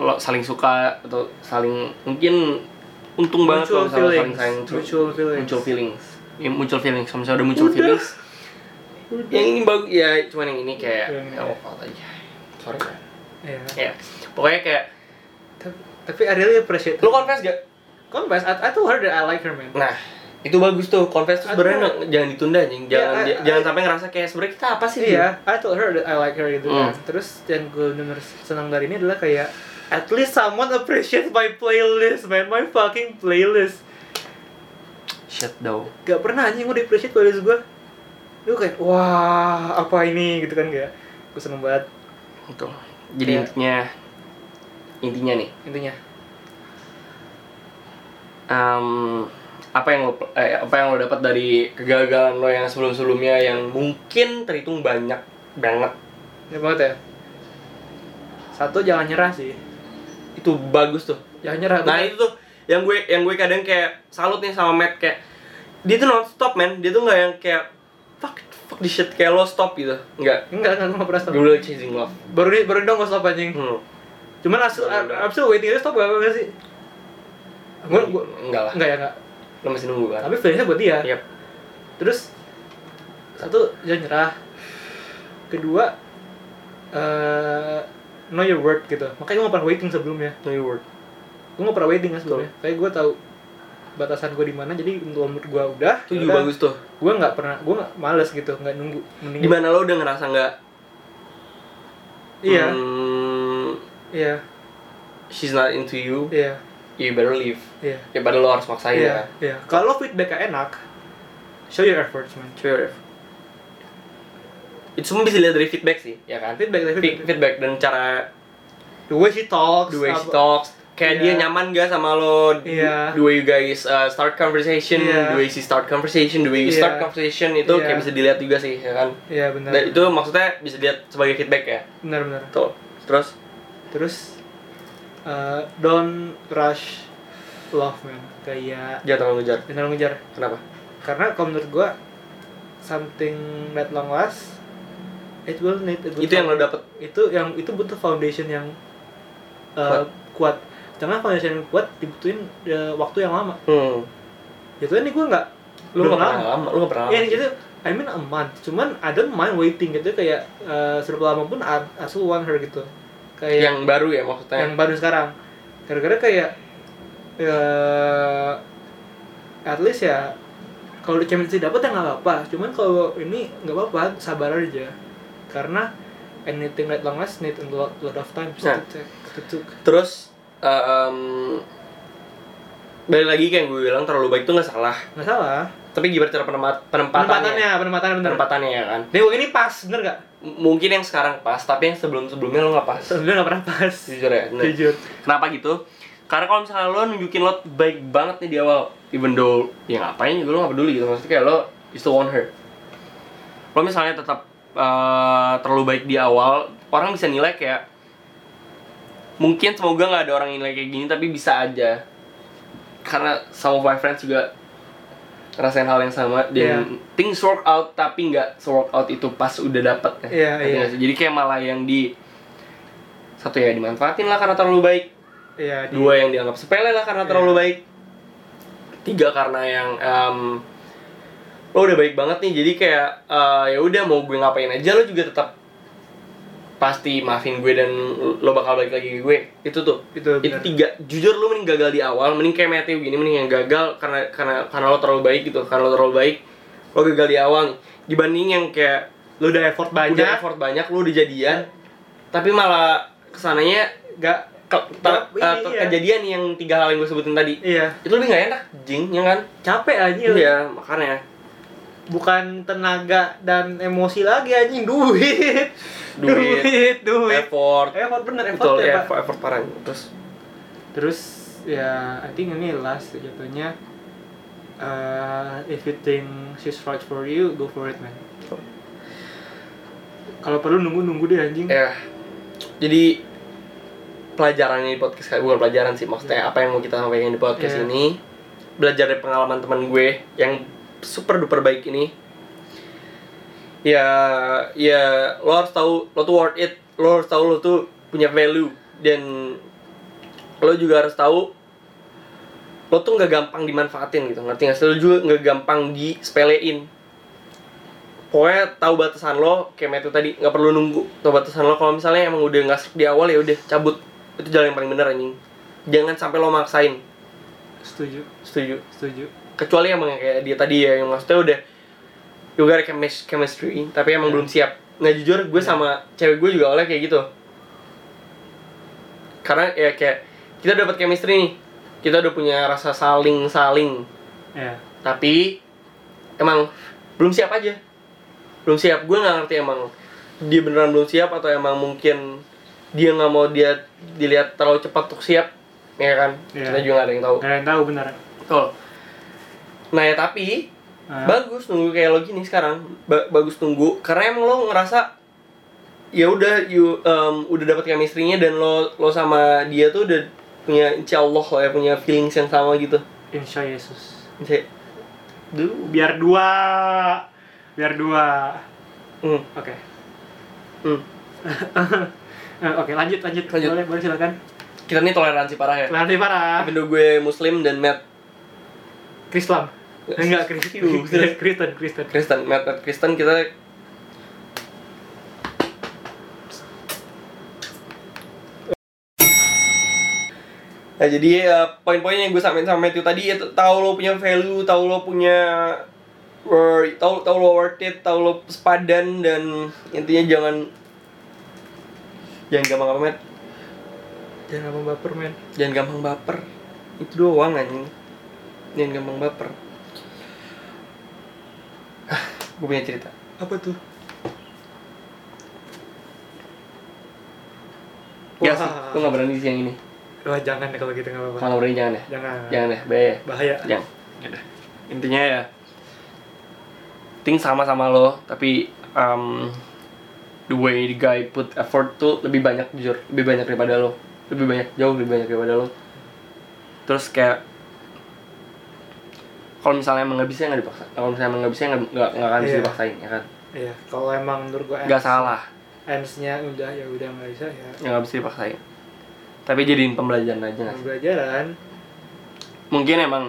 Speaker 1: lo saling suka atau saling mungkin untung banget
Speaker 2: Mutual
Speaker 1: kalau misalnya saling
Speaker 2: feelings.
Speaker 1: saling
Speaker 2: Mutual feelings.
Speaker 1: mutual feelings ya, muncul feelings kalau misalnya udah muncul
Speaker 2: Udah.
Speaker 1: feelings
Speaker 2: Udah.
Speaker 1: yang ini bagus ya cuman yang ini kayak
Speaker 2: Yang ini.
Speaker 1: ya out aja sorry ya.
Speaker 2: Ya.
Speaker 1: ya pokoknya kayak
Speaker 2: Tapi, tapi I really appreciate
Speaker 1: lu kan- confess gak
Speaker 2: Confess, I, I told her that I like her man
Speaker 1: nah itu bagus tuh confess tuh
Speaker 2: Aduh.
Speaker 1: sebenarnya jangan ditunda anjing
Speaker 2: Ya,
Speaker 1: jangan
Speaker 2: I-
Speaker 1: ja-
Speaker 2: I-
Speaker 1: jangan sampai ngerasa kayak sebenarnya kita apa sih
Speaker 2: Iya, I told her that I like her gitu kan
Speaker 1: Hmm.
Speaker 2: Terus yang gue bener senang dari ini adalah kayak At least someone appreciates my playlist man, my fucking playlist
Speaker 1: Jin? shit though
Speaker 2: Gak pernah anjing gue di-appreciate playlist gue Gue kayak, wah apa ini gitu kan kayak Gue seneng banget
Speaker 1: Betul. Gitu. Jadi
Speaker 2: Iya.
Speaker 1: intinya intinya nih,
Speaker 2: intinya
Speaker 1: em, apa yang lo eh, apa yang lo dapat dari kegagalan lo yang sebelum-sebelumnya yang mungkin terhitung banyak banget
Speaker 2: Ini banget ya Satu, jangan nyerah sih
Speaker 1: itu bagus tuh.
Speaker 2: Jangan nyerah
Speaker 1: Nah itu tuh yang gue yang gue kadang kayak salut nih sama Matt kayak dia tuh non stop man dia tuh nggak yang kayak fuck fuck this shit kayak lo stop gitu nggak
Speaker 2: Enggak, enggak, gue gak pernah stop
Speaker 1: dulu chasing love
Speaker 2: Baru ini, baru ini dong gue stop anjing
Speaker 1: hmm.
Speaker 2: Cuman I'm still, I'm, I'm still waiting aja stop gak apa-apa sih Gue, gue,
Speaker 1: enggak lah
Speaker 2: enggak ya enggak
Speaker 1: lo masih nunggu kan
Speaker 2: Tapi feelingnya buat dia
Speaker 1: Yap.
Speaker 2: Terus Satu, jangan nyerah Kedua eh Know your worth gitu Makanya gue gak pernah waiting sebelumnya
Speaker 1: no your word
Speaker 2: Gue gak pernah waiting kan sebelumnya Kayak gue tahu batasan gue di mana jadi untuk menurut gue udah
Speaker 1: itu juga bagus tuh
Speaker 2: gue nggak pernah gue nggak males gitu nggak nunggu mending
Speaker 1: gimana lo udah ngerasa nggak
Speaker 2: iya
Speaker 1: hmm,
Speaker 2: iya
Speaker 1: she's not into you,
Speaker 2: iya
Speaker 1: you better leave.
Speaker 2: iya
Speaker 1: Ya padahal lo harus maksain
Speaker 2: iya
Speaker 1: ya.
Speaker 2: iya kalau feedbacknya enak show your efforts man
Speaker 1: Sure. Itu semua bisa dilihat dari feedback sih, ya kan?
Speaker 2: feedback dari
Speaker 1: Feed-
Speaker 2: feedback
Speaker 1: Feedback dan cara
Speaker 2: the way she talks
Speaker 1: the way she
Speaker 2: apa-
Speaker 1: talks, kayak
Speaker 2: Iya.
Speaker 1: dia nyaman gak sama lo,
Speaker 2: Iya.
Speaker 1: the way you guys uh, start conversation,
Speaker 2: Iya.
Speaker 1: the way she start conversation, the way you
Speaker 2: Iya.
Speaker 1: start conversation itu
Speaker 2: Iya.
Speaker 1: kayak bisa dilihat juga sih, ya kan?
Speaker 2: iya benar
Speaker 1: Dan itu maksudnya bisa dilihat sebagai feedback ya.
Speaker 2: benar benar
Speaker 1: Tuh. Terus
Speaker 2: terus eh, don't rush love man kayak
Speaker 1: jangan terlalu ngejar.
Speaker 2: jangan terlalu ngejar
Speaker 1: Kenapa?
Speaker 2: karena kalau menurut gue something that long last it will need a good
Speaker 1: itu yang lo dapet.
Speaker 2: itu yang itu butuh foundation yang uh, kuat. Karena foundation yang kuat dibutuhin uh, waktu yang lama.
Speaker 1: Hmm.
Speaker 2: Itu ini gue nggak
Speaker 1: Lo
Speaker 2: belum
Speaker 1: gak pernah lama, lo gak pernah lama.
Speaker 2: Ya itu I mean a month. Cuman I don't mind waiting gitu kayak uh, seberapa lama pun I, I still want her gitu. Kayak yang,
Speaker 1: yang baru ya maksudnya.
Speaker 2: baru sekarang. Gara-gara kayak uh, at least ya kalau di chemistry dapat ya nggak apa-apa. Cuman kalau ini nggak apa-apa, sabar aja. Karena anything that long last need a lot, lot of time so
Speaker 1: Nah.
Speaker 2: to take, to took.
Speaker 1: Terus em, balik lagi kayak yang gue bilang terlalu baik tuh nggak salah.
Speaker 2: Nggak salah.
Speaker 1: Tapi gimana cara penemat, penempatannya?
Speaker 2: Penempatannya, penempatannya bener.
Speaker 1: Penempatannya ya kan.
Speaker 2: Nih, ini pas, bener gak?
Speaker 1: M- Mungkin yang sekarang pas, tapi yang sebelum-sebelumnya lo nggak pas.
Speaker 2: Sebenernya gak pernah pas
Speaker 1: Jujur ya. bener.
Speaker 2: Jujur
Speaker 1: Kenapa gitu? Karena kalau misalnya lo nunjukin lo baik banget nih di awal, even though ya ngapain juga lo nggak peduli gitu. Maksudnya kayak lo you still want her. Lo misalnya tetap eh, terlalu baik di awal, orang bisa nilai kayak mungkin semoga nggak ada orang yang nilai kayak gini tapi bisa aja karena some of my friends juga ngerasain hal yang sama dan things work out tapi nggak se work out itu pas udah dapet ya.
Speaker 2: Iya,
Speaker 1: Ngerti
Speaker 2: iya.
Speaker 1: nggak sih? jadi kayak malah yang di satu ya dimanfaatin lah karena terlalu baik
Speaker 2: Iya, di-
Speaker 1: dua yang dianggap sepele lah karena
Speaker 2: Iya.
Speaker 1: terlalu baik tiga karena yang em, lo udah baik banget nih jadi kayak eh, ya udah mau gue ngapain aja lo juga tetap pasti maafin gue dan lo bakal balik lagi ke gue itu tuh
Speaker 2: itu
Speaker 1: itu
Speaker 2: bener
Speaker 1: tiga jujur lo mending gagal di awal mending kayak Matthew gini mending yang gagal karena karena karena lo terlalu baik gitu karena lo terlalu baik lo gagal di awal nih. dibanding yang kayak
Speaker 2: Lu udah effort banyak
Speaker 1: udah effort banyak lo udah jadian tapi malah kesananya
Speaker 2: Gak
Speaker 1: ke, ta-
Speaker 2: Tapi
Speaker 1: eh,
Speaker 2: ini
Speaker 1: ke-
Speaker 2: ya.
Speaker 1: kejadian yang tiga hal yang gue sebutin tadi
Speaker 2: Iya
Speaker 1: itu lebih nggak enak jing ya kan
Speaker 2: Capek anjir
Speaker 1: iya makanya
Speaker 2: Bukan tenaga dan emosi lagi anjing Duit
Speaker 1: Duit.
Speaker 2: Duit, duit.
Speaker 1: effort
Speaker 2: Effort bener, effort
Speaker 1: betul
Speaker 2: ya,
Speaker 1: ya
Speaker 2: Pak
Speaker 1: effort, effort parah terus
Speaker 2: Terus ya, I think ini last jatuhnya eh, If you think she's right for you, go for it man Kalau perlu nunggu-nunggu deh anjing
Speaker 1: ya jadi pelajaran di podcast bukan pelajaran sih maksudnya apa yang mau kita sampaikan di podcast
Speaker 2: Iya.
Speaker 1: ini belajar dari pengalaman teman gue yang super duper baik ini ya ya lo harus tahu lo tuh worth it lo harus tahu lo tuh punya value dan lo juga harus tahu lo tuh nggak gampang dimanfaatin gitu ngerti nggak sih lo juga nggak gampang disepelein pokoknya tahu batasan lo kayak metode tadi nggak perlu nunggu tahu batasan lo kalau misalnya emang udah nggak serk di awal ya udah cabut itu jalan yang paling bener anjing jangan sampai lo maksain
Speaker 2: setuju
Speaker 1: setuju
Speaker 2: setuju
Speaker 1: kecuali emang yang kayak dia tadi ya yang maksudnya udah you got a chemis- chemistry tapi emang
Speaker 2: Hmm.
Speaker 1: belum siap nah jujur gue sama cewek gue juga oleh kayak gitu karena ya kayak kita dapat chemistry nih kita udah punya rasa saling saling
Speaker 2: ya
Speaker 1: tapi emang belum siap aja belum siap gue nggak ngerti emang dia beneran belum siap atau emang mungkin dia nggak mau dia dilihat terlalu cepat untuk siap ya kan
Speaker 2: Iya.
Speaker 1: kita juga nggak ada yang tahu
Speaker 2: nggak ada yang tahu benar
Speaker 1: betul nah ya tapi
Speaker 2: Ah,
Speaker 1: bagus nunggu kayak lo gini sekarang Ba- bagus tunggu karena emang lo ngerasa ya udah you um, udah dapat chemistry-nya dan lo lo sama dia tuh udah punya insya Allah lah ya punya feelings yang sama gitu
Speaker 2: insya Yesus
Speaker 1: Insya- dulu
Speaker 2: biar dua biar dua
Speaker 1: hmm.
Speaker 2: oke
Speaker 1: Hmm.
Speaker 2: Eh, oke lanjut, lanjut
Speaker 1: Lanjut.
Speaker 2: boleh boleh silakan
Speaker 1: kita nih toleransi parah ya
Speaker 2: Lari parah
Speaker 1: Indo gue muslim dan Matt
Speaker 2: Krislam enggak Kristen
Speaker 1: Terus.
Speaker 2: Kristen Kristen
Speaker 1: Kristen Matt, Matt Kristen kita Nah, jadi eh, poin-poin yang gue sampein sama itu tadi ya tahu lo punya value, tahu lo punya worth, tahu tahu lo worth it, tahu lo sepadan dan intinya jangan jangan gampang apa Matt.
Speaker 2: jangan ngomong baper men
Speaker 1: jangan gampang baper itu doang anjing jangan gampang baper gue punya cerita
Speaker 2: apa tuh
Speaker 1: Gak Iya sih,
Speaker 2: Wah.
Speaker 1: gue gak berani sih yang ini
Speaker 2: Ya, Wah jangan deh kalau gitu nggak apa-apa.
Speaker 1: Kalau gak berani jangan ya
Speaker 2: Jangan.
Speaker 1: Jangan ya, bahaya ya
Speaker 2: Bahaya.
Speaker 1: Jangan Intinya ya Ting sama-sama lo, tapi um, The way the guy put effort tuh lebih banyak jujur Lebih banyak daripada lo Lebih banyak, jauh lebih banyak daripada lo Terus kayak kalau misalnya emang nggak bisa nggak dipaksa kalau misalnya emang nggak bisa nggak nggak nggak akan bisa
Speaker 2: Iya. Eh.
Speaker 1: dipaksain ya kan
Speaker 2: Iya. Kalau emang menurut gue
Speaker 1: nggak salah
Speaker 2: nya udah ya udah nggak bisa ya.
Speaker 1: nggak bisa dipaksain tapi jadiin pembelajaran aja nggak sih?
Speaker 2: Pembelajaran.
Speaker 1: mungkin emang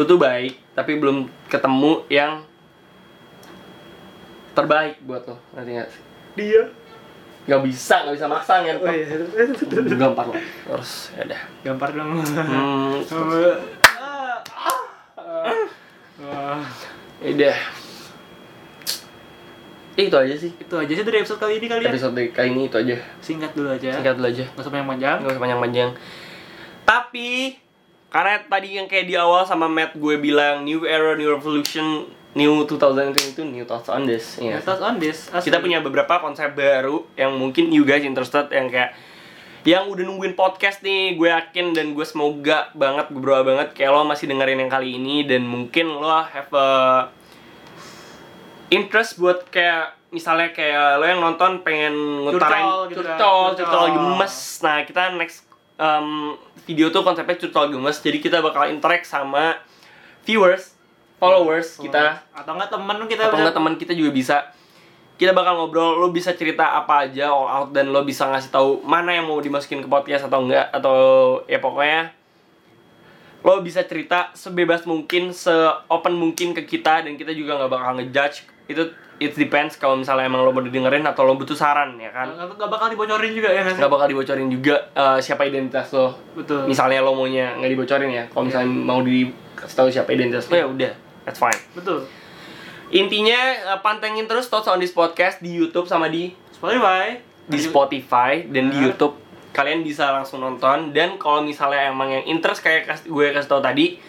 Speaker 1: lu tuh baik tapi belum ketemu yang terbaik buat lo nanti nggak sih?
Speaker 2: Dia.
Speaker 1: nggak bisa nggak bisa maksa nggak
Speaker 2: Oh iya.
Speaker 1: gampang lo harus ya udah
Speaker 2: Gampar dong.
Speaker 1: hmm,
Speaker 2: Ah, ah, ah. Wah.
Speaker 1: ya udah Ya itu aja sih
Speaker 2: Itu aja sih dari episode kali ini kalian.
Speaker 1: episode kali ini itu aja
Speaker 2: Singkat dulu aja.
Speaker 1: singkat dulu aja
Speaker 2: Nggak usah panjang-panjang.
Speaker 1: nggak usah panjang-panjang tapi karena tadi yang kayak di awal sama Matt gue bilang new era new revolution new 2022 new thoughts on this ya.
Speaker 2: Just on this. asli.
Speaker 1: kita punya beberapa konsep baru yang mungkin you guys interested yang kayak yang udah nungguin podcast nih gue yakin dan gue semoga banget gue berdoa banget kayak lo masih dengerin yang kali ini dan mungkin lo have a interest buat kayak misalnya kayak lo yang nonton pengen
Speaker 2: Curcol
Speaker 1: ngutarain
Speaker 2: gitu kan.
Speaker 1: curcol curcol
Speaker 2: Curcol.
Speaker 1: gemes nah kita next um, video tuh konsepnya curcol gemes jadi kita bakal interact sama viewers followers kita
Speaker 2: Oh, atau enggak temen kita
Speaker 1: atau
Speaker 2: bisa-
Speaker 1: enggak teman kita juga bisa kita bakal ngobrol lo bisa cerita apa aja all out dan lo bisa ngasih tahu mana yang mau dimasukin ke podcast atau enggak atau ya pokoknya lo bisa cerita sebebas mungkin se open mungkin ke kita dan kita juga nggak bakal ngejudge itu it depends kalau misalnya emang lo mau didengerin atau lo butuh saran ya kan
Speaker 2: Nggak- nggak bakal dibocorin juga ya nggak sih?
Speaker 1: nggak bakal dibocorin juga eh, siapa identitas lo
Speaker 2: Betul.
Speaker 1: misalnya lo maunya nggak dibocorin ya kalau misalnya mau dikasih tahu siapa identitas lo ya udah that's fine
Speaker 2: Betul.
Speaker 1: Intinya eh, pantengin terus Thoughts on this podcast di YouTube sama di Ah.
Speaker 2: Spotify.
Speaker 1: di Spotify dan di
Speaker 2: Benar.
Speaker 1: YouTube. Kalian bisa langsung nonton dan kalau misalnya emang yang interest kayak kas- gue kasih tau tadi,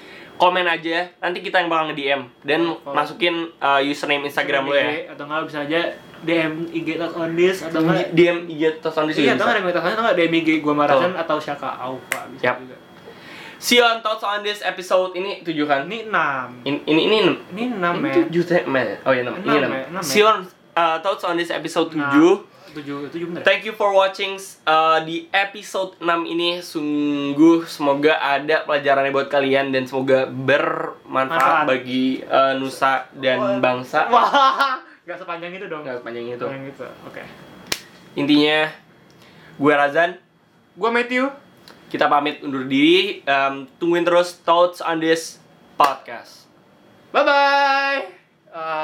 Speaker 1: komen aja. Nanti kita yang bakal nge-DM dan
Speaker 2: Oh.
Speaker 1: masukin eh, username Instagram lo ya.
Speaker 2: Atau enggak bisa aja DM IG Tot on this atau enggak
Speaker 1: DM IG Thoughts on this
Speaker 2: Iya,
Speaker 1: juga
Speaker 2: atau
Speaker 1: bisa.
Speaker 2: enggak DM Tot on this atau enggak DM IG gua Marasan atau Syaka Aufa bisa
Speaker 1: Yap.
Speaker 2: juga.
Speaker 1: See you on Thoughts on this episode ini tujuh kan?
Speaker 2: Ini 6.
Speaker 1: Ini ini ini enam.
Speaker 2: Ini 6
Speaker 1: Ini
Speaker 2: ya.
Speaker 1: tujuh teh, men. Oh ya enam. Ini
Speaker 2: Enam,
Speaker 1: enam.
Speaker 2: men. Enam, men.
Speaker 1: See you on eh, Thoughts on this episode tujuh.
Speaker 2: 7 7 bener. ya?
Speaker 1: Thank you for watching uh, di episode 6 ini sungguh semoga ada pelajarannya buat kalian dan semoga bermanfaat
Speaker 2: Manfaat.
Speaker 1: bagi uh, nusa dan bangsa.
Speaker 2: Wah, enggak sepanjang itu dong.
Speaker 1: Nggak sepanjang itu.
Speaker 2: Sepanjang itu. Oke.
Speaker 1: Intinya gue Razan,
Speaker 2: Gua Matthew.
Speaker 1: kita pamit undur diri Um, Em, tungguin terus thoughts on this podcast
Speaker 2: Bye bye.